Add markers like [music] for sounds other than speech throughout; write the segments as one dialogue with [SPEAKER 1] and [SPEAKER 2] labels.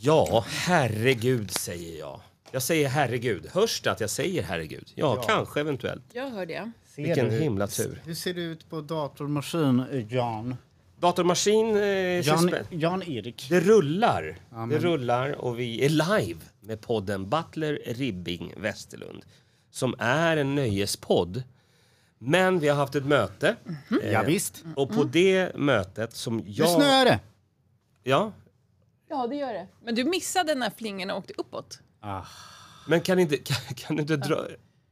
[SPEAKER 1] Ja, herregud säger jag. Jag säger herregud. Hörs det att jag säger herregud? Ja, kanske eventuellt.
[SPEAKER 2] Jag hör det.
[SPEAKER 3] Ser
[SPEAKER 1] Vilken
[SPEAKER 3] du-
[SPEAKER 1] himla tur.
[SPEAKER 3] Hur ser det ut på datormaskin, Jan?
[SPEAKER 1] Datormaskin... Eh,
[SPEAKER 3] Jan,
[SPEAKER 1] suspend-
[SPEAKER 3] Jan Erik.
[SPEAKER 1] det rullar. Det rullar och vi är live med podden Butler Ribbing Westerlund. Som är en nöjespodd. Men vi har haft ett möte. eh,
[SPEAKER 3] Mhm. Ja, visst.
[SPEAKER 1] Och på det mötet som
[SPEAKER 3] Nu
[SPEAKER 1] jag...
[SPEAKER 3] snöar det.
[SPEAKER 1] Ja,
[SPEAKER 2] Ja, det gör det. Men du missade när flingorna åkte uppåt.
[SPEAKER 1] Mm. Ah. men kan inte... [laughs] Kan, kan du inte dra...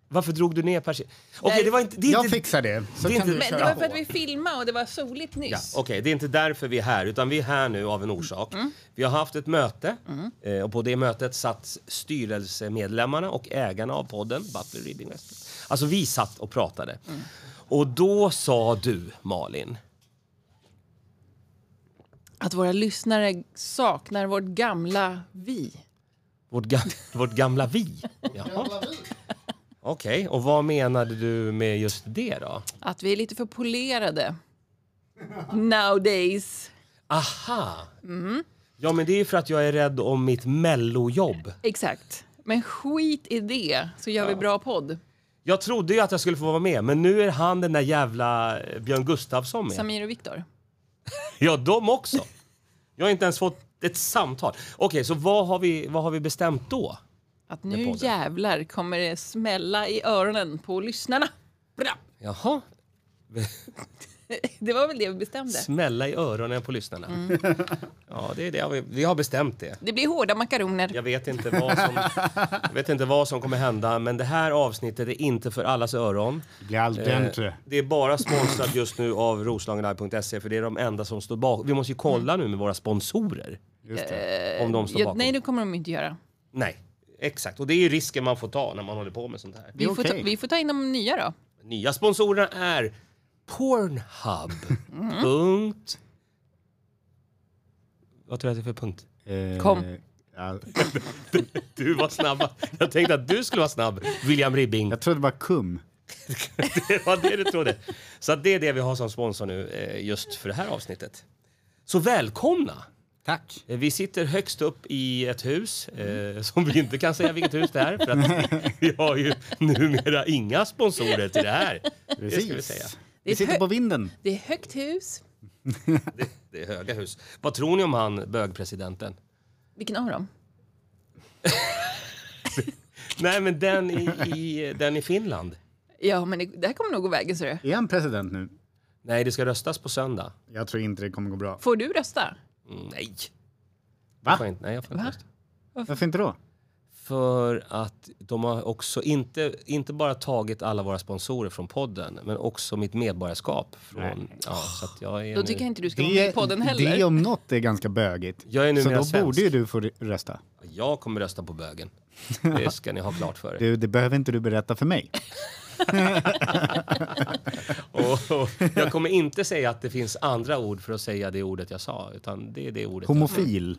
[SPEAKER 1] Varför drog du ner persiennerna? Okej,
[SPEAKER 2] Nej.
[SPEAKER 1] det var inte... Det är
[SPEAKER 3] Jag
[SPEAKER 1] inte
[SPEAKER 3] fixar det. Så
[SPEAKER 1] det är
[SPEAKER 3] kan
[SPEAKER 1] inte-
[SPEAKER 3] du köra
[SPEAKER 2] Men det var
[SPEAKER 3] på.
[SPEAKER 2] för att vi filmade och det var soligt nyss.
[SPEAKER 1] Ja, Okej, det är inte därför vi är här, utan vi är här nu av en orsak. Vi har haft ett möte eh, och på det mötet satt styrelsemedlemmarna och ägarna av podden, Butler Ribbing West. Alltså vi satt och pratade. Och då sa du, Malin,
[SPEAKER 2] Att våra lyssnare saknar vårt gamla vi.
[SPEAKER 1] vårt, ga- [laughs] vårt gamla vi. Jaha. Okej, och vad menade du med just det då?
[SPEAKER 2] Att vi är lite för polerade. Nowadays.
[SPEAKER 1] Aha! Ja, men det är ju för att jag är rädd om mitt mellojobb.
[SPEAKER 2] Exakt. Men skit i det, så gör vi bra podd.
[SPEAKER 1] Jag trodde ju att jag skulle få vara med, men nu är han den där jävla eh, Björn Gustafsson med.
[SPEAKER 2] Samir och Viktor.
[SPEAKER 1] Ja, de också. Jag har inte ens fått ett samtal. Okej, så vad har, vi, vad har vi bestämt då?
[SPEAKER 2] Att
[SPEAKER 1] Med
[SPEAKER 2] nu
[SPEAKER 1] podden.
[SPEAKER 2] jävlar kommer det smälla i öronen på lyssnarna. Bra. [laughs]
[SPEAKER 1] Jaha,
[SPEAKER 2] Det var väl det vi bestämde.
[SPEAKER 1] smälla i öronen på lyssnarna.
[SPEAKER 2] Mm.
[SPEAKER 1] [laughs] Ja, det är det vi, vi har bestämt det.
[SPEAKER 2] Det blir hårda makaroner.
[SPEAKER 1] Jag vet, inte vad som, jag vet inte vad som kommer hända, men det här avsnittet är inte för allas öron.
[SPEAKER 3] Det blir
[SPEAKER 1] Eh,
[SPEAKER 3] al dente.
[SPEAKER 1] Det är bara sponsrat just nu av roslagenlive.se, för det är de enda som står bakom. Vi måste ju kolla nu med våra sponsorer.
[SPEAKER 3] Just det.
[SPEAKER 1] Om de står
[SPEAKER 2] Mm. Ja,
[SPEAKER 1] bakom.
[SPEAKER 2] nej, det kommer de inte göra.
[SPEAKER 1] Nej, exakt. Och det är ju risken man får ta när man håller på med sånt här.
[SPEAKER 2] Vi,
[SPEAKER 3] är
[SPEAKER 2] får, ta,
[SPEAKER 3] okej.
[SPEAKER 2] vi får ta in de nya då.
[SPEAKER 1] Nya sponsorerna är Pornhub.
[SPEAKER 3] Mm.
[SPEAKER 1] Punkt. Vad tror du att det är för punkt?
[SPEAKER 3] Eh,
[SPEAKER 2] Kom.
[SPEAKER 3] ja,
[SPEAKER 1] Du var snabb. Jag tänkte att du skulle vara snabb, William [laughs] Ribbing.
[SPEAKER 3] jag trodde det var kum.
[SPEAKER 1] Det var det du trodde. Så att det är det vi har som sponsor nu eh, just för det här avsnittet. Så välkomna!
[SPEAKER 3] Tack.
[SPEAKER 1] Eh, Vi sitter högst upp i ett hus, eh, som vi inte kan säga vilket hus det är för att [laughs] vi har ju numera inga sponsorer till det här. Det ska vi säga.
[SPEAKER 3] Precis.
[SPEAKER 2] Det är
[SPEAKER 3] Vi sitter
[SPEAKER 2] ett
[SPEAKER 3] på vinden.
[SPEAKER 2] Det är högt hus.
[SPEAKER 1] Det är höga hus. Vad tror ni om han bögpresidenten?
[SPEAKER 2] Vilken av dem?
[SPEAKER 1] Nej, men den i, [laughs] i, den i Finland.
[SPEAKER 2] Ja, men det, det här kommer nog gå vägen, ser du.
[SPEAKER 3] Är han president nu?
[SPEAKER 1] Nej, det ska röstas på söndag.
[SPEAKER 3] Jag tror inte det kommer gå bra.
[SPEAKER 2] Får du rösta?
[SPEAKER 1] Mm, Nej.
[SPEAKER 3] Va?
[SPEAKER 1] Jag får inte, nej, jag får inte
[SPEAKER 2] Va?
[SPEAKER 1] rösta.
[SPEAKER 3] Varför inte då?
[SPEAKER 1] För att de har också inte, inte bara tagit alla våra sponsorer från podden, men också mitt medborgarskap. Från, ja, så att jag är
[SPEAKER 2] Då
[SPEAKER 1] nu,
[SPEAKER 2] tycker jag inte du ska vara med i podden heller.
[SPEAKER 3] det om något är ganska bögigt.
[SPEAKER 1] Jag är
[SPEAKER 3] Så
[SPEAKER 1] numera
[SPEAKER 3] då
[SPEAKER 1] svensk.
[SPEAKER 3] borde ju du få rösta.
[SPEAKER 1] jag kommer rösta på [laughs] bögen. Det ska ni ha klart för er.
[SPEAKER 3] Du, det behöver inte du berätta för mig.
[SPEAKER 1] Och, och, jag kommer inte säga att det finns andra ord för att säga det ordet jag sa, utan det är det ordet.
[SPEAKER 3] Homofil.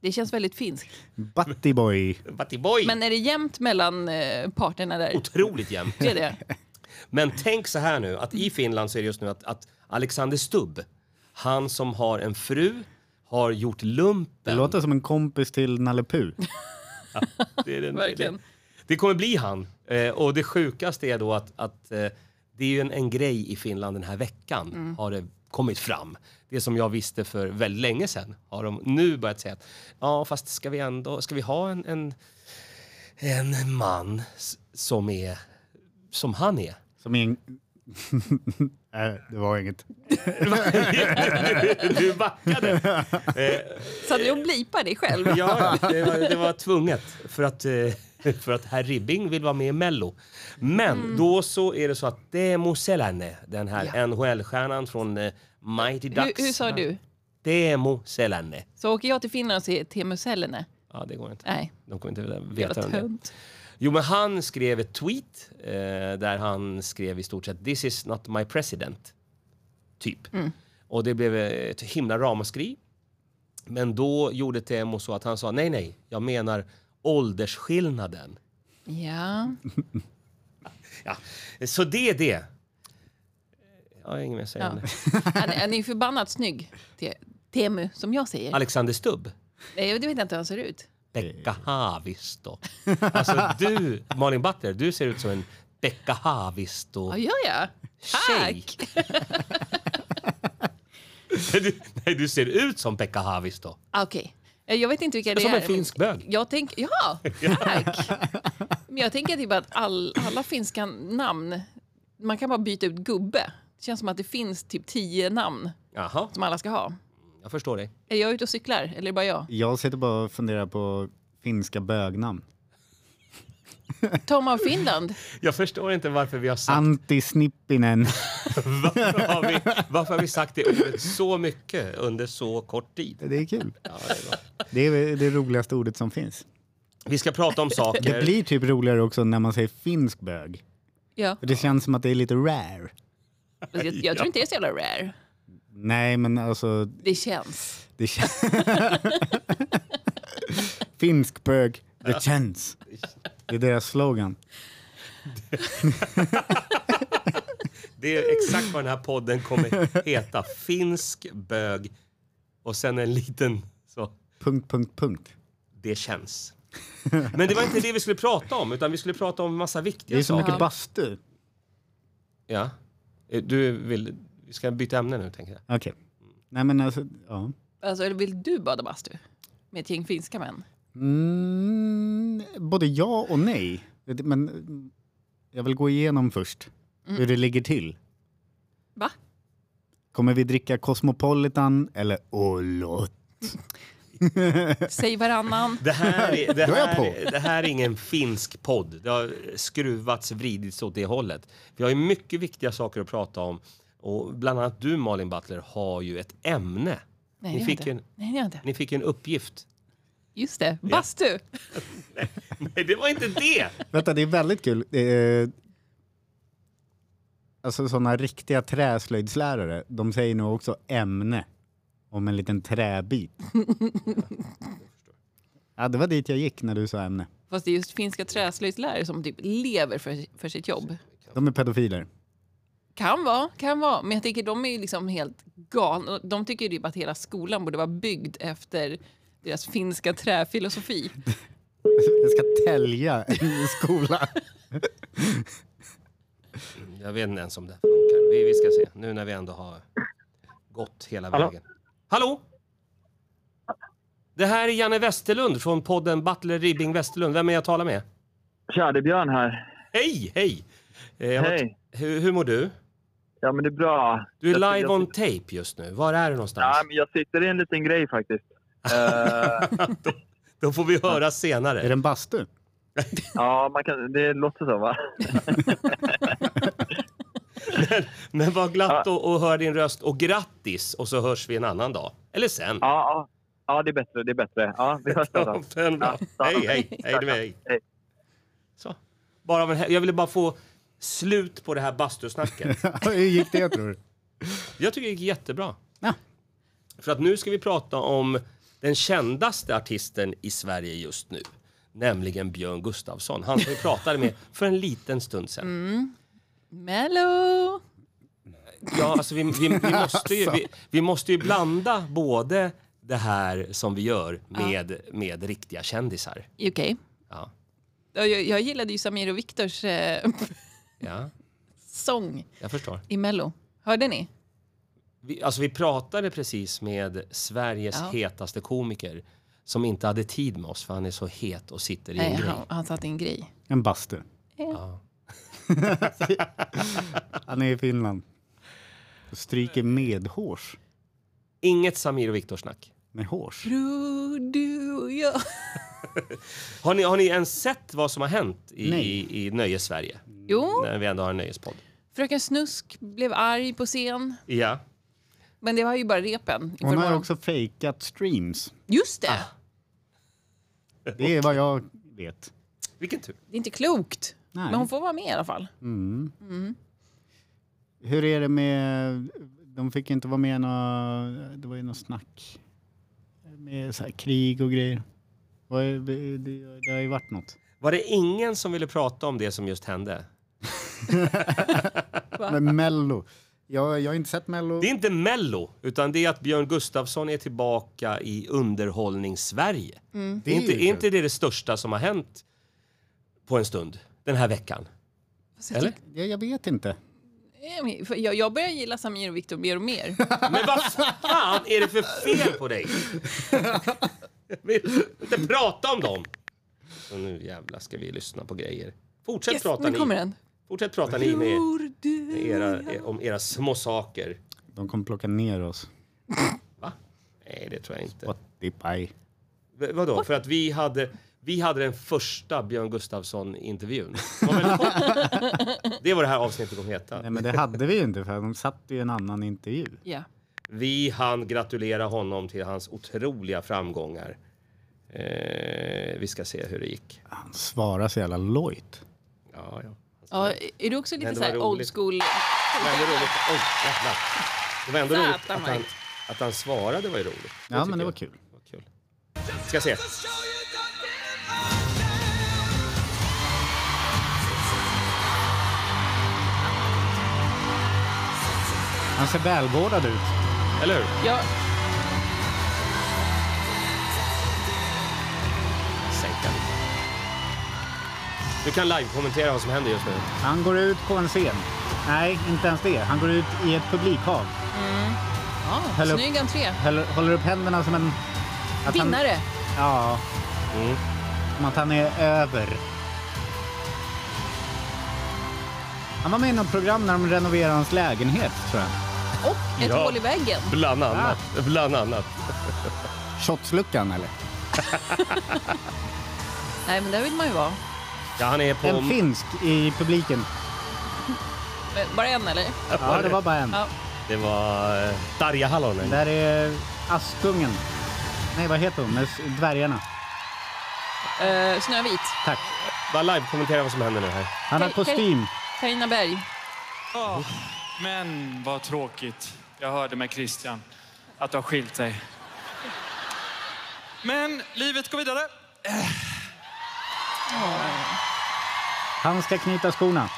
[SPEAKER 2] Det känns väldigt finskt.
[SPEAKER 3] Butty boy.
[SPEAKER 1] jag- Batiboy!
[SPEAKER 2] Men är det jämnt mellan eh, parterna där?
[SPEAKER 1] Otroligt jämnt.
[SPEAKER 2] Det är det.
[SPEAKER 1] Men tänk så här nu, att i Finland så är det just nu att, att Alexander Stubb, han som har en fru, har gjort
[SPEAKER 3] Det
[SPEAKER 1] lumpen.
[SPEAKER 3] [laughs] låter som en kompis till Nalle Puh.
[SPEAKER 1] Det, är den-
[SPEAKER 2] Verkligen.
[SPEAKER 1] Det, det kommer bli han. Eh, och det sjukaste är då att, att eh, det är ju en, en grej i Finland den här veckan, har det kommit fram. Det som jag visste för väldigt länge sedan har de nu börjat säga att ja, fast ska vi ändå, ska vi ha en, en, en man s- som är som han är? [laughs]
[SPEAKER 3] Som är en... [laughs] Nej, det var inget.
[SPEAKER 1] Du backade!
[SPEAKER 2] Så att jag blipar
[SPEAKER 3] [laughs]
[SPEAKER 2] dig själv.
[SPEAKER 1] Ja, ja, det var, det var tvunget för att, eh, för att herr Ribbing vill vara med i Mello. Men
[SPEAKER 2] Mm.
[SPEAKER 1] då så är det så att Demo Selänne, den här NHL-stjärnan från eh, Mighty
[SPEAKER 2] Hur,
[SPEAKER 1] Ducks.
[SPEAKER 2] hur sa du?
[SPEAKER 1] Demo Selänne.
[SPEAKER 2] Så åker jag till Finland och ser Teemu Selänne?
[SPEAKER 1] Ja, det går inte.
[SPEAKER 2] Nej,
[SPEAKER 1] De kommer inte vilja veta
[SPEAKER 2] jävla
[SPEAKER 1] vem det är.
[SPEAKER 2] tönt.
[SPEAKER 1] Jo, men han skrev ett tweet eh, där han skrev i stort sett “This is not my president”. Typ.
[SPEAKER 2] Mm.
[SPEAKER 1] Och det blev ett himla ramaskri. Men då gjorde Teemu så att han sa “Nej, nej, jag menar åldersskillnaden”.
[SPEAKER 2] Ja.
[SPEAKER 1] Ja. Så det är det. Jag har inget mer att säga om
[SPEAKER 2] Ja.
[SPEAKER 1] det.
[SPEAKER 2] Han, han är förbannat snygg, Te- Teemu, som jag säger.
[SPEAKER 1] Alexander Stubb.
[SPEAKER 2] Nej, det vet jag inte hur han ser ut.
[SPEAKER 1] Pekka
[SPEAKER 2] Eh.
[SPEAKER 1] Haavisto. Alltså du, Malin Butler, du ser ut som en Pekka
[SPEAKER 2] Ja,
[SPEAKER 1] Haavisto-tjej.
[SPEAKER 2] gör jag? Tack!
[SPEAKER 1] [laughs] Du- Nej, du ser ut som Pekka Haavisto.
[SPEAKER 2] Ah, Okej. Eh, Jag vet inte vilka det
[SPEAKER 1] Som
[SPEAKER 2] är.
[SPEAKER 1] en finsk bög.
[SPEAKER 2] Jag tänker,
[SPEAKER 1] [laughs]
[SPEAKER 2] ja, tack. Men jag tänker typ att all, alla finska namn, man kan bara byta ut gubbe. Det känns som att det finns typ tio namn
[SPEAKER 1] Jaha,
[SPEAKER 2] som alla ska ha.
[SPEAKER 1] jag förstår dig.
[SPEAKER 2] Är jag ute och cyklar eller är det bara jag?
[SPEAKER 3] Jag sitter bara och funderar på finska bögnamn.
[SPEAKER 2] Tom av Finland?
[SPEAKER 1] Jag förstår inte varför vi har [laughs] sagt,
[SPEAKER 3] Antisnippinen.
[SPEAKER 1] varför har vi, varför har vi sagt det ordet så mycket under så kort tid.
[SPEAKER 3] [laughs] Det är kul.
[SPEAKER 1] Ja, det är bra.
[SPEAKER 3] Det är det roligaste ordet som finns.
[SPEAKER 1] vi ska prata om
[SPEAKER 3] Det
[SPEAKER 1] saker.
[SPEAKER 3] blir typ roligare också när man säger finsk bög.
[SPEAKER 2] Ja. alltså,
[SPEAKER 3] För det känns som att det är lite rare.
[SPEAKER 2] Jag, jag tror inte det är så jävla rare.
[SPEAKER 3] Nej, men alltså...
[SPEAKER 2] Det känns.
[SPEAKER 3] Det känns... [laughs] finsk bög. Det känns. Det är deras slogan.
[SPEAKER 1] Det är exakt vad den här podden kommer heta. Finsk bög och sen en liten så.
[SPEAKER 3] Punkt, punkt, punkt.
[SPEAKER 1] Det känns. Men det var inte det vi skulle prata om, utan vi skulle prata om massa
[SPEAKER 3] Det är
[SPEAKER 1] viktiga
[SPEAKER 3] så
[SPEAKER 1] saker.
[SPEAKER 3] mycket bastu.
[SPEAKER 1] Ja. Eh, Du vill... Vi ska byta ämne nu, tänker jag.
[SPEAKER 3] Okej. Nej, men alltså... Ja.
[SPEAKER 2] Alltså, eller vill du bada bastu? Med ett gäng finska män?
[SPEAKER 3] Mm, både ja och nej. Men jag vill gå igenom först hur det ligger till.
[SPEAKER 2] Va?
[SPEAKER 3] Kommer vi dricka Cosmopolitan eller Olot?
[SPEAKER 2] Säg varannan.
[SPEAKER 1] Det här, är, det,
[SPEAKER 3] [laughs] Då är jag
[SPEAKER 1] här,
[SPEAKER 3] på.
[SPEAKER 1] det här är ingen finsk podd. Det har skruvats, vridits åt det hållet. Vi har ju mycket viktiga saker att prata om. Och bland annat du, Malin Butler, har ju ett ämne.
[SPEAKER 2] Nej,
[SPEAKER 1] ni,
[SPEAKER 2] det
[SPEAKER 1] fick
[SPEAKER 2] har jag
[SPEAKER 1] en,
[SPEAKER 2] inte. Nej, det har jag inte.
[SPEAKER 1] ni fick en uppgift.
[SPEAKER 2] Just det, bastu.
[SPEAKER 1] Nej, det var inte det!
[SPEAKER 3] Vänta, det är väldigt kul. Eh, alltså sådana riktiga träslöjdslärare, de säger nog också ämne om en liten träbit. Ja, det var dit jag gick när du sa ämne.
[SPEAKER 2] Fast det är just finska träslöjdslärare som typ lever för, för sitt jobb.
[SPEAKER 3] De är pedofiler.
[SPEAKER 2] Kan vara, kan vara. Men jag tänker de är ju liksom helt galna. De tycker ju typ att hela skolan borde vara byggd efter deras finska träfilosofi.
[SPEAKER 3] Jag ska tälja i skolan.
[SPEAKER 1] Jag vet inte ens om det funkar. Vi, vi ska se, nu när vi ändå har gått hela
[SPEAKER 4] Hallå?
[SPEAKER 1] vägen. Hallå? Det här är Janne Westerlund från podden Butler Ribbing Westerlund. Vem är jag talar med?
[SPEAKER 4] Tja, det är Björn här.
[SPEAKER 1] Hej, hej! Eh, jag var-
[SPEAKER 4] Hej.
[SPEAKER 1] Hur, hur mår du?
[SPEAKER 4] Ja, men det är bra.
[SPEAKER 1] Du är
[SPEAKER 4] Jag-
[SPEAKER 1] live
[SPEAKER 4] jag,
[SPEAKER 1] on tape just nu. Var är du någonstans?
[SPEAKER 4] Ja, men jag sitter i en liten grej [laughs] faktiskt. Eh,
[SPEAKER 1] Då får vi höra senare.
[SPEAKER 3] Är det en bastu?
[SPEAKER 4] ja, man kan, det låter så, va?
[SPEAKER 1] Men var glatt och, och hör din röst och grattis och så hörs vi en annan dag. Eller sen.
[SPEAKER 4] Ja, ja, ja det är bättre. Det är bättre. Ja, vi hörs
[SPEAKER 1] [laughs]
[SPEAKER 4] då. då.
[SPEAKER 1] Toppen.
[SPEAKER 4] Ja, ta
[SPEAKER 1] Hej,
[SPEAKER 4] hand om dig.
[SPEAKER 1] hej. Hej, du med, hej.
[SPEAKER 4] Hej.
[SPEAKER 1] Så. Bara av en, hä- jag ville bara få slut på det här bastusnacket.
[SPEAKER 3] Hur gick det tror du?
[SPEAKER 1] Jag tycker det gick jättebra.
[SPEAKER 3] Ja.
[SPEAKER 1] För att nu ska vi prata om den kändaste artisten i Sverige just nu. Nämligen Björn Gustafsson. Han som vi pratade med för en liten stund sedan.
[SPEAKER 2] Mello!
[SPEAKER 1] Ja, alltså vi, vi,
[SPEAKER 2] [laughs]
[SPEAKER 1] vi, måste
[SPEAKER 2] Alltså.
[SPEAKER 1] ju, vi, vi måste ju blanda både det här som vi gör med, med riktiga kändisar.
[SPEAKER 2] Okej. Okay.
[SPEAKER 1] Ja.
[SPEAKER 2] Jag, jag gillade ju Samir och Viktors eh, [laughs]
[SPEAKER 1] ja,
[SPEAKER 2] sång
[SPEAKER 1] jag förstår.
[SPEAKER 2] i Mello. Hörde ni?
[SPEAKER 1] Vi, alltså vi pratade precis med Sveriges
[SPEAKER 2] Ja.
[SPEAKER 1] hetaste komiker som inte hade tid med oss för han är så het och sitter i en
[SPEAKER 2] Nej,
[SPEAKER 1] grej.
[SPEAKER 2] han, han satt i en grej.
[SPEAKER 3] En bastu.
[SPEAKER 1] Ja.
[SPEAKER 3] [laughs] Han är i Finland. Stryker medhårs.
[SPEAKER 1] Inget Samir och Viktor-snack.
[SPEAKER 3] Med hårs.
[SPEAKER 2] Bror, du och jag. [laughs]
[SPEAKER 1] Har ni, har ni ens sett vad som har hänt i,
[SPEAKER 3] Nej.
[SPEAKER 1] i, i Nöjes-Sverige?
[SPEAKER 2] Jo,
[SPEAKER 1] När vi ändå har en nöjespodd.
[SPEAKER 2] Fröken Snusk blev arg på scen.
[SPEAKER 1] Ja.
[SPEAKER 2] Men det var ju bara repen. inför
[SPEAKER 3] Hon har
[SPEAKER 2] morgon.
[SPEAKER 3] också Ah. fejkat streams.
[SPEAKER 2] Just det!
[SPEAKER 3] Det är vad jag vet.
[SPEAKER 1] Vilken tur.
[SPEAKER 2] Det är inte klokt.
[SPEAKER 3] Nej. Mm.
[SPEAKER 2] Men hon Mm. får vara med i alla fall.
[SPEAKER 3] Hur är det med... De fick inte vara med i nå- Det var ju något snack. Med så här krig och grejer. Vad är- Det, det, det har ju varit något.
[SPEAKER 1] Var det ingen som ville prata om det som just hände?
[SPEAKER 3] Men Mello. Jag, jag har inte sett Mello.
[SPEAKER 1] Det är inte Mello, utan det är att Björn Gustafsson är tillbaka i underhållningssverige.
[SPEAKER 2] Mm.
[SPEAKER 1] Det är, inte,
[SPEAKER 3] ju
[SPEAKER 1] är
[SPEAKER 3] kul.
[SPEAKER 1] inte det det största som har hänt på en stund den här veckan?
[SPEAKER 2] Fast jag
[SPEAKER 1] Eller?
[SPEAKER 3] Jag, jag vet inte.
[SPEAKER 2] tycker- Eh, för Jag, jag börjar gilla Samir och Viktor mer
[SPEAKER 1] [laughs]
[SPEAKER 2] och mer.
[SPEAKER 1] Men vad fan är det för fel på dig? [laughs] Jag vill inte prata om dem! Och nu jävlar ska vi lyssna på grejer. Fortsätt
[SPEAKER 2] Yes,
[SPEAKER 1] prata
[SPEAKER 2] nu kommer
[SPEAKER 1] ni.
[SPEAKER 2] den.
[SPEAKER 1] Fortsätt prata ni med,
[SPEAKER 2] Tror du
[SPEAKER 1] med era, om era små saker.
[SPEAKER 3] De kommer plocka ner oss.
[SPEAKER 1] Va? Nej, det tror jag inte.
[SPEAKER 3] Spotify.
[SPEAKER 1] V- Vadå? För att vi hade, vi hade den första Björn Gustafsson-intervjun. Det var väldigt kort. Det var det här avsnittet kommer heta.
[SPEAKER 3] Nej men det hade vi ju inte för de satt ju i en annan intervju.
[SPEAKER 2] Ja.
[SPEAKER 1] Vi hann gratulera honom till hans otroliga framgångar. Eh, vi ska se hur det gick.
[SPEAKER 3] Han svarar så jävla lojt.
[SPEAKER 1] Ja, ja.
[SPEAKER 2] ja, är du också
[SPEAKER 1] Men
[SPEAKER 2] lite
[SPEAKER 1] det
[SPEAKER 2] så
[SPEAKER 1] var
[SPEAKER 2] här
[SPEAKER 1] roligt.
[SPEAKER 2] old school?
[SPEAKER 1] Det var ändå roligt, Oj, jävlar. det var ändå
[SPEAKER 2] Satan,
[SPEAKER 1] roligt att han,
[SPEAKER 2] Mike.
[SPEAKER 1] att han svarade var ju roligt.
[SPEAKER 3] Ja men
[SPEAKER 1] tycker
[SPEAKER 3] det
[SPEAKER 1] jag.
[SPEAKER 3] var kul.
[SPEAKER 1] Vad kul. Ska se.
[SPEAKER 3] Han ser välvårdad ut.
[SPEAKER 1] Eller hur?
[SPEAKER 2] Ja,
[SPEAKER 1] Sänka lite. Du kan live-kommentera vad som händer just nu.
[SPEAKER 3] Han går ut på en scen. Nej, inte ens det. Han går ut i ett publikhav.
[SPEAKER 2] Mm. ja
[SPEAKER 3] Hello.
[SPEAKER 2] snygg entré.
[SPEAKER 3] Häller- Håller upp händerna som en... att han-
[SPEAKER 2] Vinnare.
[SPEAKER 3] Ja,
[SPEAKER 1] Mm.
[SPEAKER 3] som att han är över. Han var med i något program när de renoverade hans lägenhet, tror jag.
[SPEAKER 2] Och ett
[SPEAKER 1] Ja.
[SPEAKER 2] hål i väggen.
[SPEAKER 1] Bland annat.
[SPEAKER 3] Ah.
[SPEAKER 1] Bland annat.
[SPEAKER 3] Shotsluckan, eller?
[SPEAKER 2] Nej, men där vill man ju vara.
[SPEAKER 1] Ja, han är på...
[SPEAKER 3] En finsk i publiken.
[SPEAKER 2] Men Eh, Bara en, eller?
[SPEAKER 3] Ja, det var bara en.
[SPEAKER 2] Ja.
[SPEAKER 1] Det var eh, Tarja Halonen.
[SPEAKER 3] Där är Askungen. Nej, vad heter hon? Med s- dvärgarna.
[SPEAKER 2] Eh, Snövit.
[SPEAKER 3] Tack.
[SPEAKER 1] Bara live-kommentera vad som händer nu här.
[SPEAKER 3] Han har
[SPEAKER 2] Hej, hej.
[SPEAKER 3] kostym.
[SPEAKER 2] Carina Berg.
[SPEAKER 5] Ja, men vad tråkigt. Jag hörde med Christian att du har skilt sig. Men livet går vidare.
[SPEAKER 3] Han ska knyta skorna.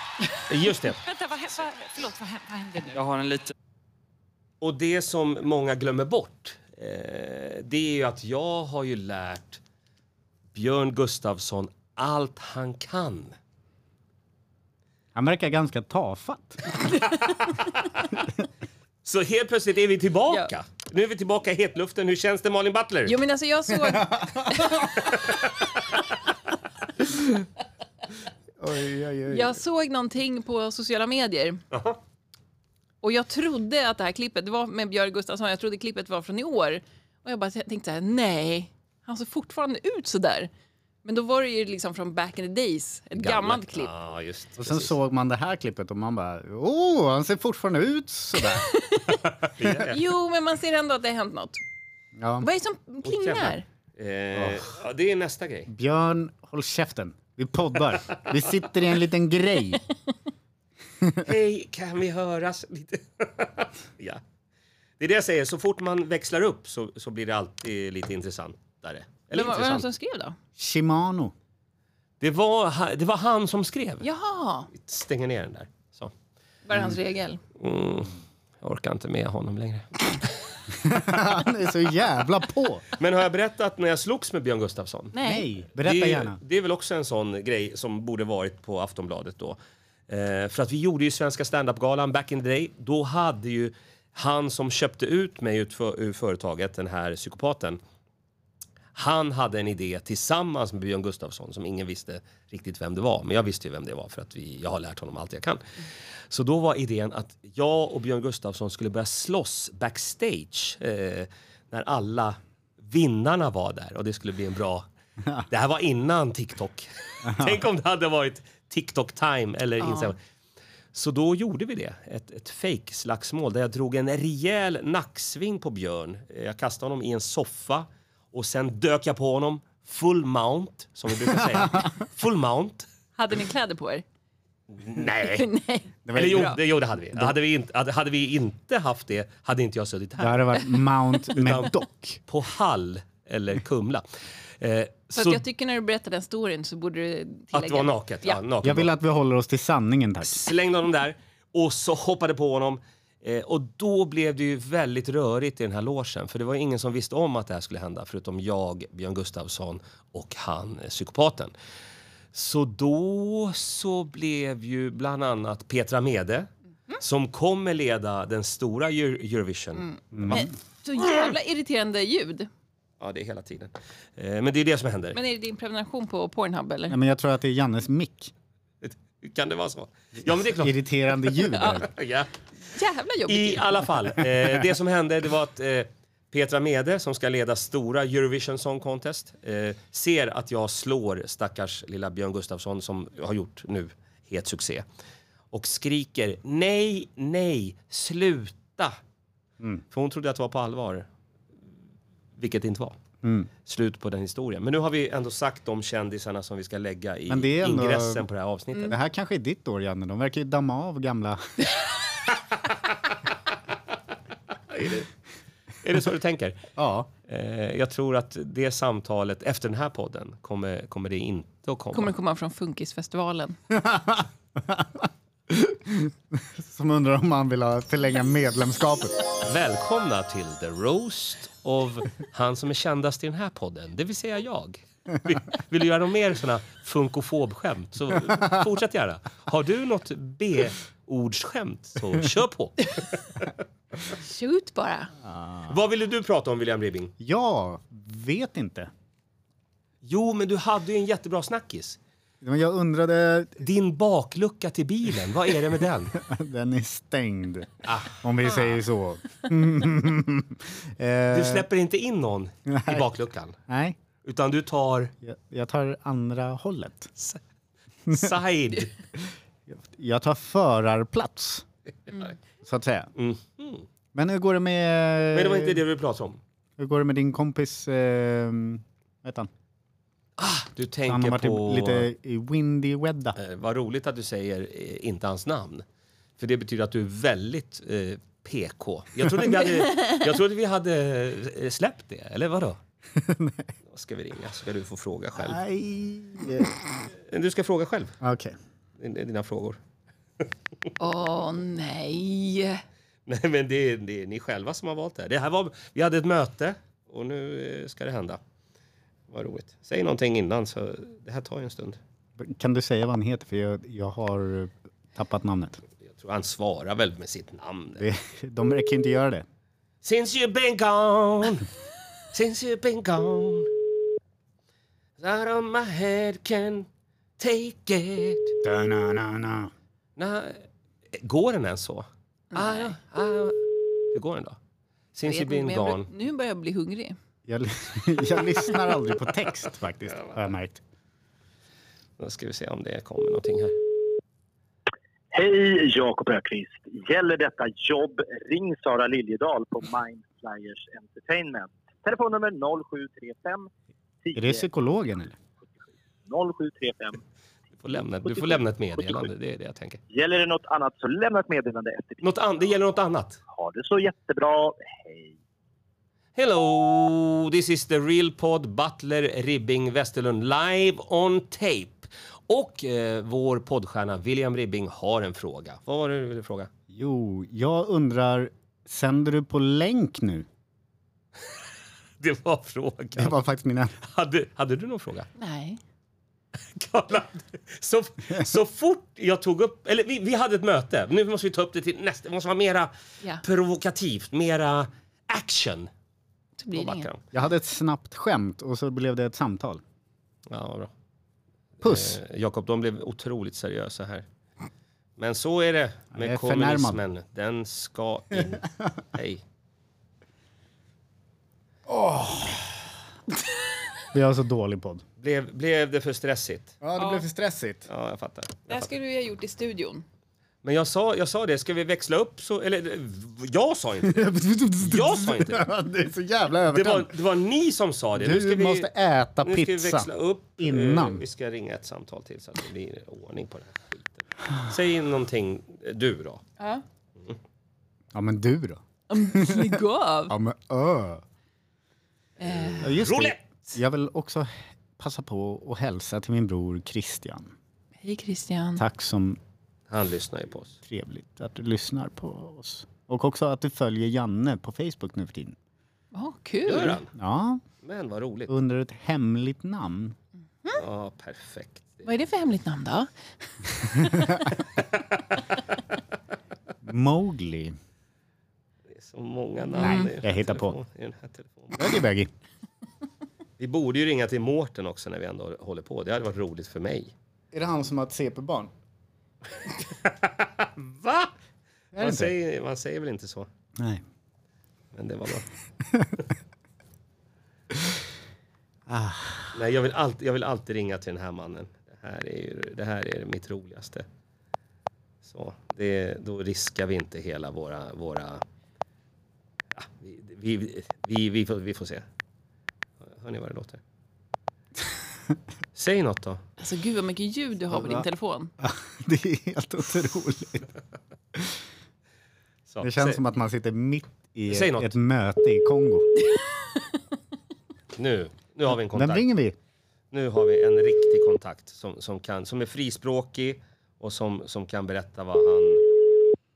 [SPEAKER 1] Just det.
[SPEAKER 6] Vänta, vad, hä- vad, förlåt, vad, hä- vad hände nu?
[SPEAKER 5] Jag har en liten...
[SPEAKER 1] Och det som många glömmer bort, eh, det är ju att jag har ju lärt Björn Gustafsson allt han kan.
[SPEAKER 3] Han verkar ganska tafatt.
[SPEAKER 1] Så helt plötsligt är vi tillbaka. Nu är vi tillbaka i hetluften. Hur känns det Malin Butler?
[SPEAKER 2] Jo, men alltså jag såg...
[SPEAKER 3] Oj, oj, oj.
[SPEAKER 2] Jag såg någonting på sociala medier. Och jag trodde att det här klippet, det var med Björn Gustafsson, jag trodde klippet var från i år. Och jag bara tänkte så här, nej, han ser fortfarande ut så där. Men då var det ju liksom från back in the days, ett gammalt klipp.
[SPEAKER 1] Ja, just
[SPEAKER 3] Och sen
[SPEAKER 1] precis.
[SPEAKER 3] såg man det här klippet och man bara, åh, han ser fortfarande ut sådär.
[SPEAKER 2] Jo, men man ser ändå att det har hänt något.
[SPEAKER 1] Mm.
[SPEAKER 3] Ja.
[SPEAKER 2] Vad är det som plingar?
[SPEAKER 1] [laughs] Eh, ja, det är nästa grej.
[SPEAKER 3] Björn, håll käften. Vi poddar. Vi sitter i en liten grej.
[SPEAKER 1] Hej, kan vi höras lite? [laughs] ja. Det är det jag säger, så fort man växlar upp så, så blir det alltid lite intressantare. Eller
[SPEAKER 2] Men vad alltså- var det
[SPEAKER 1] intressant.
[SPEAKER 2] som skrev då?
[SPEAKER 3] Shimano.
[SPEAKER 1] Det, var, ha- det var han som skrev.
[SPEAKER 2] Jaha,
[SPEAKER 1] Stänger ner den där. Så.
[SPEAKER 2] var det hans regel?
[SPEAKER 1] Mm. Jag orkar inte med honom längre.
[SPEAKER 3] Han är så jävla på.
[SPEAKER 1] Men har jag berättat när jag slogs med Björn Gustafsson?
[SPEAKER 2] Nej.
[SPEAKER 3] Nej, berätta
[SPEAKER 1] det, är-
[SPEAKER 3] gärna.
[SPEAKER 1] Det är väl också en sån grej som borde varit på Aftonbladet då. Eh, för att vi gjorde ju Svenska standup-galan back in the day. Då hade ju han som köpte ut mig ut för, ur företaget, den här psykopaten. Han hade en idé tillsammans med Björn Gustafsson som ingen visste riktigt vem det var. Men jag visste ju vem det var för att vi, jag har lärt honom allt jag kan. Så då var idén att jag och Björn Gustafsson skulle börja slåss backstage eh, när alla vinnarna var där och det skulle bli en bra... Det här var innan TikTok. Tänk om det hade varit TikTok-time eller Instagram. Så då gjorde vi det, ett, ett fake-slagsmål där jag drog en rejäl nacksving på Björn. Eh, Jag kastade honom i en soffa och sen dök jag på honom full mount, som vi brukar [laughs] säga. Full mount.
[SPEAKER 2] Hade ni kläder på er?
[SPEAKER 1] Nej.
[SPEAKER 2] [laughs] Nej.
[SPEAKER 1] Eller jo, det, jo, det hade vi. Hade vi, inte, hade, hade vi inte haft det hade inte jag suttit
[SPEAKER 3] Det
[SPEAKER 1] här.
[SPEAKER 3] hade varit
[SPEAKER 1] [laughs]
[SPEAKER 3] Mount Medoc.
[SPEAKER 1] På Hall eller Kumla. Eh,
[SPEAKER 2] Fast
[SPEAKER 1] så
[SPEAKER 2] jag tycker när du berättar den storyn så borde du tillägga...
[SPEAKER 1] att vara naket. Ja.
[SPEAKER 2] Ja.
[SPEAKER 1] naken
[SPEAKER 3] Jag vill att vi håller oss till sanningen, tack.
[SPEAKER 1] Slängde honom där och så hoppade på honom. Eh, och då blev det ju väldigt rörigt i den här logen. För det var ju ingen som visste om att det här skulle hända. Förutom jag, Björn Gustafsson och han, eh, psykopaten. Så då så blev ju bland annat Petra Mede som kommer leda den stora Euro- Eurovision.
[SPEAKER 2] Men, Eh, så jävla irriterande ljud.
[SPEAKER 1] Ja, det är hela tiden. Eh, men det är det som händer.
[SPEAKER 2] Men är det din prenumeration på Pornhub eller?
[SPEAKER 3] Nej, men jag tror att det är Jannes mick.
[SPEAKER 1] Kan det vara så? Ja, men det är klart.
[SPEAKER 3] Irriterande ljud. eller?
[SPEAKER 1] [laughs] Ja.
[SPEAKER 2] Jävla jobbigt
[SPEAKER 1] I
[SPEAKER 2] ljud.
[SPEAKER 1] alla fall, eh, det som hände det var att eh, Petra Mede, som ska leda stora Eurovision Song Contest, eh, ser att jag slår stackars lilla Björn Gustafsson som har gjort nu het succé. Och skriker nej, nej, sluta!
[SPEAKER 3] Mm.
[SPEAKER 1] För hon trodde att det var på allvar, vilket det inte var.
[SPEAKER 3] Mm.
[SPEAKER 1] Slut på den historien. Men nu har vi ändå sagt de kändisarna som vi ska lägga i
[SPEAKER 3] Men det är ändå- Mm.
[SPEAKER 1] ingressen på det här avsnittet.
[SPEAKER 3] Det här kanske är ditt år, Janne. De verkar ju damma av gamla...
[SPEAKER 1] Är det så du tänker?
[SPEAKER 3] Ja.
[SPEAKER 1] Eh, jag tror att det samtalet efter den här podden kommer, kommer det inte att komma.
[SPEAKER 2] Kommer komma från Funkisfestivalen.
[SPEAKER 3] Som undrar om man vill ha förlänga medlemskapet.
[SPEAKER 1] Välkomna till The Roast of [laughs] han som är kändast i den här podden, det vill säga jag. Vill- Vill du göra mer såna funkofobskämt så fortsätt gärna. Har du något B-ordsskämt så kör på.
[SPEAKER 2] Shoot bara.
[SPEAKER 1] Vad ville du prata om William Ribbing?
[SPEAKER 3] Jag vet inte.
[SPEAKER 1] Jo, men du hade ju en jättebra snackis.
[SPEAKER 3] Men jag undrade...
[SPEAKER 1] Din baklucka till bilen, vad är det med den?
[SPEAKER 3] Den är stängd.
[SPEAKER 1] Ah.
[SPEAKER 3] Om vi säger så. [laughs] Eh,
[SPEAKER 1] Ah. Du släpper inte in någon i bakluckan,
[SPEAKER 3] Nej,
[SPEAKER 1] utan du tar
[SPEAKER 3] jag, jag tar andra hållet.
[SPEAKER 1] [laughs] side.
[SPEAKER 3] Jag tar förarplats. Så att säga. Men hur går det med...
[SPEAKER 1] Mm-hmm. Men det var inte det du pratade om.
[SPEAKER 3] Hur går det med din kompis... Eh, vad heter han?
[SPEAKER 1] Du
[SPEAKER 3] Han har
[SPEAKER 1] tänker
[SPEAKER 3] varit
[SPEAKER 1] på...
[SPEAKER 3] i, lite i windy wedda.
[SPEAKER 1] Eh, vad roligt att du säger eh, inte hans namn. För det betyder att du är väldigt eh, PK. Jag trodde vi hade, jag trodde vi hade eh, släppt det, eller vadå? Då ska vi ringa, så ska du få fråga själv.
[SPEAKER 3] Nej.
[SPEAKER 1] Du ska fråga själv,
[SPEAKER 3] Okej.
[SPEAKER 1] Det är dina frågor. [laughs]
[SPEAKER 2] Åh nej.
[SPEAKER 1] Nej men det är, det är ni själva som har valt det här. det här var, Vi hade ett möte och nu eh, ska det hända. Vad roligt. Säg någonting innan, så det här tar ju en stund.
[SPEAKER 3] Kan du säga vad han heter? För jag, jag har eh, tappat namnet.
[SPEAKER 1] Jag tror han svarar väl med sitt namn.
[SPEAKER 3] Det, de verkar inte göra det.
[SPEAKER 1] Since you've been gone Since you've been gone Out of my head can take it
[SPEAKER 3] Da-na-na-na.
[SPEAKER 1] Nå, Går den ens så? Ah, Nej. hur går den då? Since
[SPEAKER 2] Jag
[SPEAKER 1] you've
[SPEAKER 2] vet inte,
[SPEAKER 1] been
[SPEAKER 2] men jag
[SPEAKER 1] gone
[SPEAKER 2] bör- Nu börjar jag bli hungrig.
[SPEAKER 3] Jag, [laughs] jag lyssnar aldrig på text faktiskt, har jag märkt.
[SPEAKER 1] Då ska vi se om det kommer någonting här.
[SPEAKER 4] [laughs] Hej, Jakob Öqvist. Gäller detta jobb, ring Sara Liljedahl på Mindflyers Entertainment. Telefonnummer 0735 10
[SPEAKER 3] Är det psykologen eller?
[SPEAKER 4] 0735.
[SPEAKER 1] Du får lämna, du får lämna ett meddelande, det är det jag tänker.
[SPEAKER 4] Gäller det något annat så lämna ett meddelande efter
[SPEAKER 1] Något an- det gäller något annat.
[SPEAKER 4] Ha det så jättebra. Hej.
[SPEAKER 1] Hello, this is the real pod Butler Ribbing Westerlund live on tape. Och eh, vår poddstjärna William Ribbing har en fråga. Vad var det du ville fråga?
[SPEAKER 3] Jo, jag undrar, sänder du på länk nu?
[SPEAKER 1] Det var
[SPEAKER 3] Det
[SPEAKER 1] frågan.
[SPEAKER 3] var faktiskt mina...
[SPEAKER 1] Hade, hade du någon fråga?
[SPEAKER 2] Nej.
[SPEAKER 1] Kolla. Så, så fort jag tog upp... Eller vi, vi hade ett möte. Nu måste vi ta upp det till nästa. Det måste vara mera
[SPEAKER 2] Ja,
[SPEAKER 1] provokativt, mera action.
[SPEAKER 2] det blir
[SPEAKER 1] på
[SPEAKER 2] det inget.
[SPEAKER 1] backen.
[SPEAKER 3] Jag hade ett snabbt skämt och så blev det ett samtal.
[SPEAKER 1] Ja, vad bra.
[SPEAKER 3] Puss!
[SPEAKER 1] Eh, Jakob, de blev otroligt seriösa här. Men så är det
[SPEAKER 3] jag
[SPEAKER 1] med
[SPEAKER 3] är
[SPEAKER 1] kommunismen.
[SPEAKER 3] förnärmad.
[SPEAKER 1] Den ska
[SPEAKER 3] [laughs]
[SPEAKER 1] in. Hej.
[SPEAKER 3] Vi har så alltså dålig podd.
[SPEAKER 1] Blev, blev det för stressigt?
[SPEAKER 3] Ja, det blev för stressigt.
[SPEAKER 1] Ja, jag fattar.
[SPEAKER 2] Det här skulle vi ha gjort i studion.
[SPEAKER 1] Men jag sa, jag sa det, ska vi växla upp så... Eller jag sa inte det. Jag sa inte det.
[SPEAKER 3] [laughs] det. är så jävla
[SPEAKER 1] Det
[SPEAKER 3] övertänt.
[SPEAKER 1] var, det var ni som sa det. Nu ska
[SPEAKER 3] Du
[SPEAKER 1] vi,
[SPEAKER 3] måste äta
[SPEAKER 1] nu ska vi
[SPEAKER 3] pizza.
[SPEAKER 1] växla upp. Eh,
[SPEAKER 3] innan.
[SPEAKER 1] Vi ska ringa ett samtal till så att det blir ordning på den här skiten. Säg någonting, eh, du då.
[SPEAKER 2] Ja.
[SPEAKER 3] Ja, men du då?
[SPEAKER 2] Lägg av!
[SPEAKER 3] Ja, men ö.
[SPEAKER 1] Eh,
[SPEAKER 3] Ja, just det.
[SPEAKER 1] Roulette!
[SPEAKER 3] Jag vill också passa på att hälsa till min bror Christian.
[SPEAKER 2] Hej Christian.
[SPEAKER 3] Tack som
[SPEAKER 1] Han lyssnar ju på oss.
[SPEAKER 3] trevligt att du lyssnar på oss. Och också att du följer Janne på Facebook nu för tiden.
[SPEAKER 2] Åh,
[SPEAKER 1] Gör
[SPEAKER 2] kul.
[SPEAKER 1] han?
[SPEAKER 3] Ja,
[SPEAKER 1] Men vad roligt.
[SPEAKER 3] under ett hemligt namn.
[SPEAKER 1] Ja, perfekt.
[SPEAKER 2] Vad är det för hemligt namn då?
[SPEAKER 3] Mowgli.
[SPEAKER 1] Det är så många namn. i den här
[SPEAKER 3] Mm. jag hittar på.
[SPEAKER 1] telefonen- i den här telefonen.
[SPEAKER 3] Bögi bögi.
[SPEAKER 1] Vi borde ju ringa till Mårten också när vi ändå håller på. Det hade varit roligt för mig.
[SPEAKER 7] Är det han som har ett CP-barn?
[SPEAKER 1] Va?
[SPEAKER 3] det
[SPEAKER 1] Man
[SPEAKER 3] inte?
[SPEAKER 1] säger, man säger väl inte så?
[SPEAKER 3] Nej.
[SPEAKER 1] Men det var bra.
[SPEAKER 3] Ah,
[SPEAKER 1] Nej, jag vill, alltid, jag vill alltid ringa till den här mannen. Det här är, ju, det här är mitt roligaste. Så, det, då riskar vi inte hela våra... våra ja, vi, vi, vi, vi, vi, får, vi får se. Hör ni vad det
[SPEAKER 3] [laughs]
[SPEAKER 1] låter? Säg något då.
[SPEAKER 2] Alltså gud vad mycket ljud du har på din telefon.
[SPEAKER 3] [laughs] Det är helt otroligt.
[SPEAKER 1] Så,
[SPEAKER 3] Det känns
[SPEAKER 1] säg-
[SPEAKER 3] som att man sitter mitt i
[SPEAKER 1] Säg något.
[SPEAKER 3] ett möte i Kongo.
[SPEAKER 1] Nu, nu har vi en kontakt.
[SPEAKER 3] Vem ringer vi?
[SPEAKER 1] Nu har vi en riktig kontakt som, som, kan, som är frispråkig och som, som kan berätta vad han,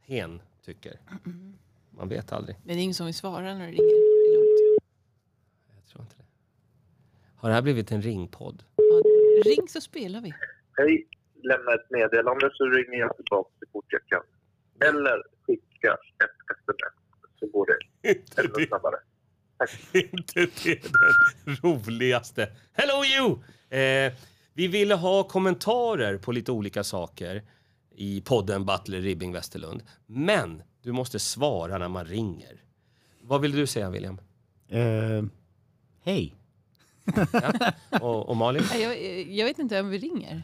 [SPEAKER 1] hen, tycker. Man vet aldrig.
[SPEAKER 2] Men det är ingen som vill svara när du ringer. Det är lugnt.
[SPEAKER 1] Jag tror inte det. Har det här blivit en ringpodd?
[SPEAKER 2] Ja, ring så spelar vi.
[SPEAKER 8] Hej, lämna ett meddelande så ringer jag tillbaka så fort jag kan. Eller skicka ett sms så går det ännu snabbare.
[SPEAKER 1] inte det den roligaste. Hello you! Eh, vi ville ha kommentarer på lite olika saker i podden Butler Ribbing Westerlund. Men du måste svara när man ringer. Vad vill du säga William?
[SPEAKER 3] Eh,
[SPEAKER 1] [laughs]
[SPEAKER 3] Hej.
[SPEAKER 1] Och, och Malin?
[SPEAKER 2] Nej, Jag, jag vet inte vem vi ringer.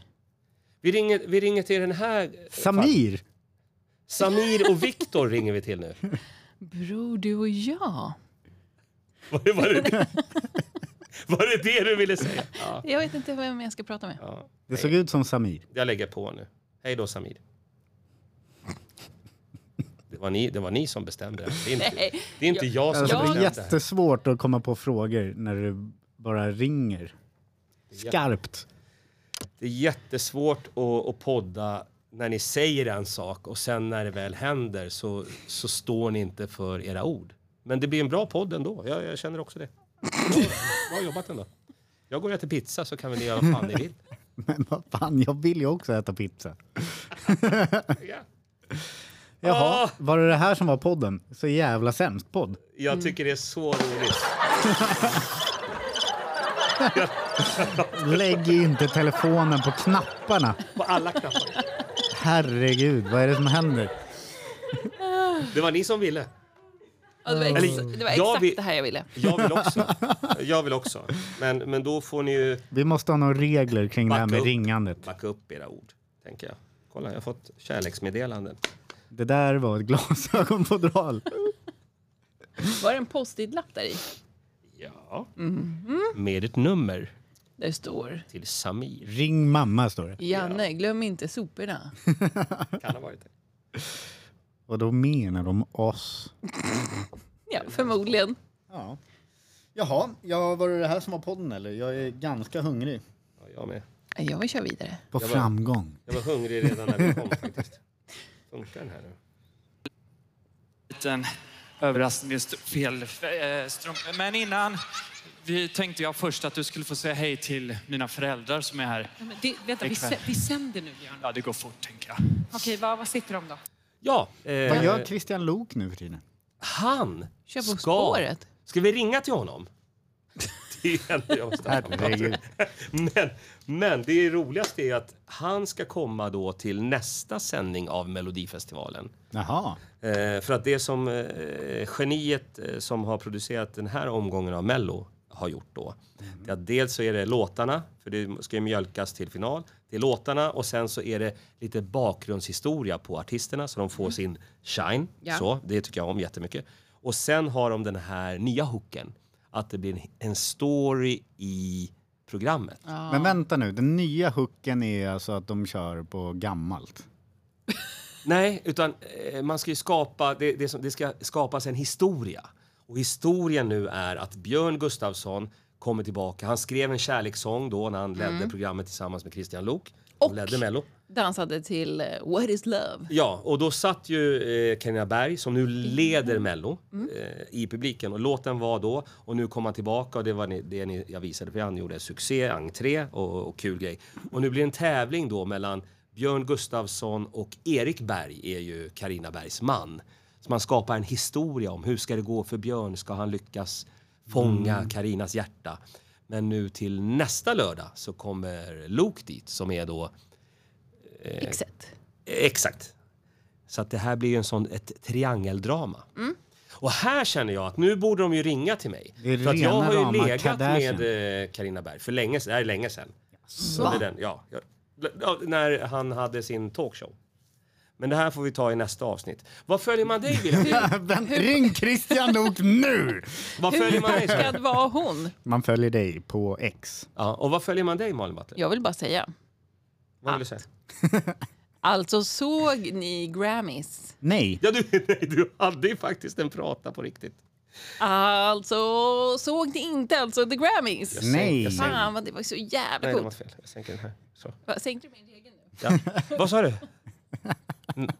[SPEAKER 1] Vi ringer, vi ringer till den här...
[SPEAKER 3] Samir.
[SPEAKER 1] Samir och Viktor ringer vi till nu.
[SPEAKER 2] Bror, du och jag.
[SPEAKER 1] [laughs] Var det, var, det, [laughs] var det det du ville säga? Ja,
[SPEAKER 2] Jag vet inte vem jag ska prata med.
[SPEAKER 1] ja.
[SPEAKER 3] Det såg ut som Samir.
[SPEAKER 1] Jag lägger på nu. Hej då Samir. Det var ni, det var ni som bestämde det här. Det är inte,
[SPEAKER 2] Nej.
[SPEAKER 1] det är inte jag som
[SPEAKER 3] Alltså, det
[SPEAKER 1] bestämde
[SPEAKER 3] är
[SPEAKER 1] det här.
[SPEAKER 3] jättesvårt att komma på frågor när du bara ringer. Skarpt. [laughs]
[SPEAKER 1] Det är jättesvårt att, att podda när ni säger en sak och sen när det väl händer så, så står ni inte för era ord. Men det blir en bra podd ändå. Jag, jag känner också det. Bra, bra jobbat ändå. Jag går och äter pizza så kan väl ni göra vad fan ni vill.
[SPEAKER 3] Men vad fan, jag vill ju också äta pizza.
[SPEAKER 1] Ja.
[SPEAKER 3] Jaha,
[SPEAKER 1] Ah!
[SPEAKER 3] var det det här som var podden? Så jävla sämst podd.
[SPEAKER 1] Jag
[SPEAKER 2] Mm.
[SPEAKER 1] tycker det är så roligt.
[SPEAKER 3] Lägg inte telefonen på knapparna.
[SPEAKER 1] På alla knappar.
[SPEAKER 3] Herregud, vad är det som händer?
[SPEAKER 1] Det var ni som ville.
[SPEAKER 2] Ja, alltså, det var, ex,
[SPEAKER 1] Eller,
[SPEAKER 2] Mm. det var
[SPEAKER 1] Mm. jag
[SPEAKER 2] exakt
[SPEAKER 1] vill-
[SPEAKER 2] det här jag ville.
[SPEAKER 1] Jag vill också. Jag vill också. Men, men då får ni ju
[SPEAKER 3] Vi måste ha några regler kring det här
[SPEAKER 1] Backa
[SPEAKER 3] med
[SPEAKER 1] upp.
[SPEAKER 3] ringandet.
[SPEAKER 1] backa upp era ord, tänker jag. Kolla, jag har fått kärleksmeddelanden.
[SPEAKER 3] Det där var ett glasögonfodral.
[SPEAKER 2] Var det en post-it-lapp där i?
[SPEAKER 1] Ja. Med ett nummer
[SPEAKER 2] Mm, Där det står
[SPEAKER 1] till Samir.
[SPEAKER 3] Ring mamma, står det.
[SPEAKER 2] Janne, glöm inte soporna.
[SPEAKER 1] [laughs] Kan ha varit det.
[SPEAKER 3] Och då menar de oss.
[SPEAKER 2] Ja, förmodligen.
[SPEAKER 7] Ja. Jaha, ja, var det det här som var podden eller? Jag är ganska hungrig.
[SPEAKER 1] Ja, jag med.
[SPEAKER 2] Nej, Jag vill köra vidare.
[SPEAKER 3] På
[SPEAKER 1] var-
[SPEAKER 3] framgång.
[SPEAKER 1] Jag var hungrig redan när vi kom faktiskt. Funkar den här nu?
[SPEAKER 5] liten överraskning. Det stod fel eh, strump. Men innan vi tänkte jag först att du skulle få säga hej till mina föräldrar som är här.
[SPEAKER 6] Ja, men det, vänta, vi,
[SPEAKER 5] Ikväll.
[SPEAKER 6] sä- vi sänder nu, Björn.
[SPEAKER 5] Ja, det går fort, tänker jag.
[SPEAKER 6] Okej, vad, vad sitter de då?
[SPEAKER 1] Ja,
[SPEAKER 3] Vad
[SPEAKER 1] eh,
[SPEAKER 3] gör Christian Lok nu för tiden?
[SPEAKER 1] han
[SPEAKER 2] Kör på
[SPEAKER 1] ska...
[SPEAKER 2] spåret.
[SPEAKER 1] Ska vi ringa till honom? [laughs] Det är ändå jag måste-
[SPEAKER 3] Herregud.
[SPEAKER 1] Men, men det roligaste är att han ska komma då till nästa sändning av Melodifestivalen.
[SPEAKER 3] Jaha.
[SPEAKER 1] Eh, för att det som eh, geniet eh, som har producerat den här omgången av Mello har gjort då. Det är att dels så är det låtarna, för det ska ju mjölkas till final. Det är låtarna och sen så är det lite bakgrundshistoria på artisterna så de får sin shine.
[SPEAKER 2] Ja.
[SPEAKER 1] Så, det tycker jag om jättemycket. Och sen har de den här nya hooken. Att det blir en, en story i programmet.
[SPEAKER 3] Men vänta nu, den nya hooken är alltså att de kör på gammalt.
[SPEAKER 1] Nej, utan eh, man ska ju skapa, det, det, som, det ska skapas en historia. Och historien nu är att Björn Gustafsson kommer tillbaka. Han skrev en kärlekssång då när han ledde programmet tillsammans med Christian Lok. Hon
[SPEAKER 2] Och
[SPEAKER 1] ledde Mello.
[SPEAKER 2] dansade till eh, What is love?
[SPEAKER 1] Ja, och då satt ju eh, Carina Berg, som nu leder Mello, eh, i publiken. Och låten var då, och nu kom han tillbaka och det var ni, det ni, jag visade för han gjorde succé, entré och, och kul grej. Och nu blir det en tävling då mellan Björn Gustafsson och Erik Berg är ju Carina Bergs man. Så man skapar en historia om hur ska det gå för Björn, ska han lyckas fånga Karinas hjärta? Men nu till nästa lördag så kommer Luke dit som är då Eh.
[SPEAKER 2] Exet.
[SPEAKER 1] Exakt. Så att det här blir ju en sån, ett triangeldrama.
[SPEAKER 2] Mm.
[SPEAKER 1] Och här känner jag att nu borde de ju ringa till mig.
[SPEAKER 3] Det är
[SPEAKER 1] För att jag
[SPEAKER 3] rena
[SPEAKER 1] har
[SPEAKER 3] rama
[SPEAKER 1] ju legat
[SPEAKER 3] Kardashian.
[SPEAKER 1] med Karina Berg för länge, det här är länge sedan. Så det är den, ja, jag, ja, när han hade sin talkshow. Men det här får vi ta i nästa avsnitt. Vad följer man dig
[SPEAKER 2] [laughs]
[SPEAKER 1] Wilhelm?
[SPEAKER 3] [laughs] Vänt, ring Christian Lok nu!
[SPEAKER 1] Vad följer
[SPEAKER 2] Hur
[SPEAKER 1] man dig? sa du?
[SPEAKER 2] chockad var hon?
[SPEAKER 3] Man följer dig på X.
[SPEAKER 1] Ja, och vad följer man dig Malin Butler?
[SPEAKER 2] Jag vill bara säga.
[SPEAKER 1] Vad vill du säga?
[SPEAKER 2] Alltså såg ni Grammys?
[SPEAKER 3] Nej.
[SPEAKER 1] Ja, du, [laughs] nej, du hade ju faktiskt en prata på riktigt.
[SPEAKER 2] Alltså såg ni inte alltså The Grammys?
[SPEAKER 1] Jag sänker-
[SPEAKER 3] Nej.
[SPEAKER 1] jag sänker-
[SPEAKER 2] Fan vad det var så jävla
[SPEAKER 1] Nej, det var
[SPEAKER 2] coolt.
[SPEAKER 1] fel. Jag sänker den här. Så.
[SPEAKER 2] Va, Sänkte du min egen nu?
[SPEAKER 1] Ja. Vad sa du? Mm.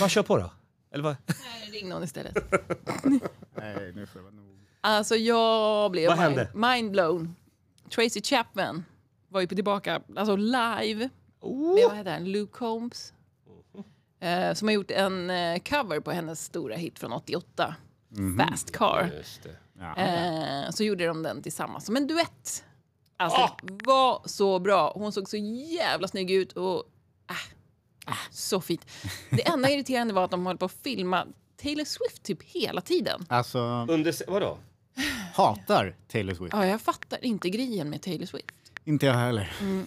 [SPEAKER 1] Vad kör på då? Eller vad,
[SPEAKER 2] Nej, ring någon istället.
[SPEAKER 3] Nej, nu får det vara nog.
[SPEAKER 2] Alltså jag blev
[SPEAKER 1] Vad
[SPEAKER 2] mind,
[SPEAKER 1] hände?
[SPEAKER 2] mindblown. Tracy Chapman var ju på tillbaka, alltså live
[SPEAKER 1] Oh.
[SPEAKER 2] med vad heter han, Luke Combs. Eh, som har gjort en eh, cover på hennes stora hit från 88,
[SPEAKER 1] Mhm.
[SPEAKER 2] Fast Car. Eh, så gjorde de den tillsammans som en duett. Alltså
[SPEAKER 1] Ah!
[SPEAKER 2] det var så bra. Hon såg så jävla snygg ut och äh,
[SPEAKER 1] Ah.
[SPEAKER 2] äh, så fint. Det enda irriterande var att de höll på att filma Taylor Swift typ hela tiden.
[SPEAKER 3] Alltså,
[SPEAKER 1] Under, vadå?
[SPEAKER 3] hatar Taylor Swift.
[SPEAKER 2] Ja, jag fattar inte grejen med Taylor Swift.
[SPEAKER 3] Inte jag heller.
[SPEAKER 1] Mm.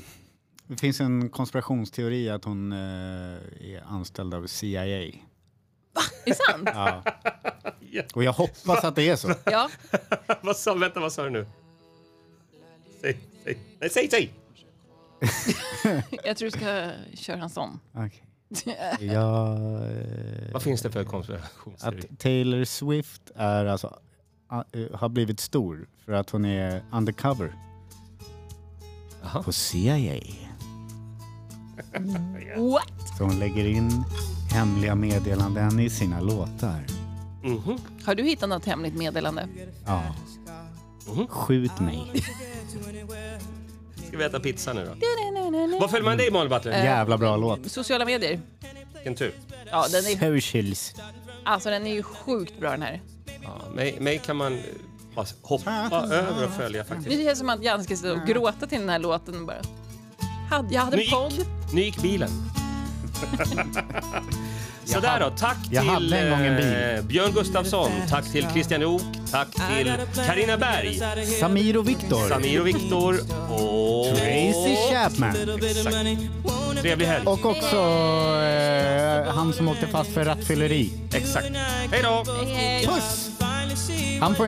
[SPEAKER 3] Det finns en konspirationsteori att hon eh, är anställd av CIA.
[SPEAKER 2] Är det sant?
[SPEAKER 3] Ja. Och jag hoppas att det är så.
[SPEAKER 2] Ja.
[SPEAKER 1] [laughs] vad sa, vänta, vad sa du nu? Säg, säg. Nej, säg, säg!
[SPEAKER 2] Jag tror du ska köra en sån. [laughs]
[SPEAKER 3] Okej. Jag, eh,
[SPEAKER 1] Vad finns det för konspirationsteori?
[SPEAKER 3] att Taylor Swift är alltså, a- eh, har blivit stor för att hon är undercover
[SPEAKER 1] Aha.
[SPEAKER 3] på CIA.
[SPEAKER 2] What?
[SPEAKER 3] Så hon lägger in hemliga meddelanden i sina låtar.
[SPEAKER 1] Mhm.
[SPEAKER 2] Har du hittat något hemligt meddelande?
[SPEAKER 3] Ja.
[SPEAKER 1] Mhm.
[SPEAKER 3] Skjut mig.
[SPEAKER 1] Ska vi äta pizza nu då? Eh. Vad följer man dig Malin Butler?
[SPEAKER 3] Jävla bra låt.
[SPEAKER 2] Sociala medier.
[SPEAKER 1] Vilken tur.
[SPEAKER 2] Ja, den är,
[SPEAKER 3] Socials.
[SPEAKER 2] alltså, den är ju sjukt bra den här.
[SPEAKER 1] Ja, mig, mig kan man eh, bara hoppa över och följa
[SPEAKER 2] Det
[SPEAKER 1] faktiskt.
[SPEAKER 2] känns som att Jan ska stå och gråta till den här låten och bara. Hade- Jag hade
[SPEAKER 1] Nu
[SPEAKER 2] en podd.
[SPEAKER 1] gick, nu gick [laughs] bilen. Sådär då, tack till
[SPEAKER 3] jag hade en gång en bil.
[SPEAKER 1] eh, Björn Gustafsson, tack till Christian Lok, tack till Karina Berg.
[SPEAKER 3] Samir och Viktor.
[SPEAKER 1] Samir och Viktor och...
[SPEAKER 3] Tracy Chapman.
[SPEAKER 1] Exakt. Trevlig helg.
[SPEAKER 3] Och också eh, han som åkte fast för rattfylleri.
[SPEAKER 1] Exakt. Hej då!
[SPEAKER 2] Hej, hej.
[SPEAKER 3] Puss! Han får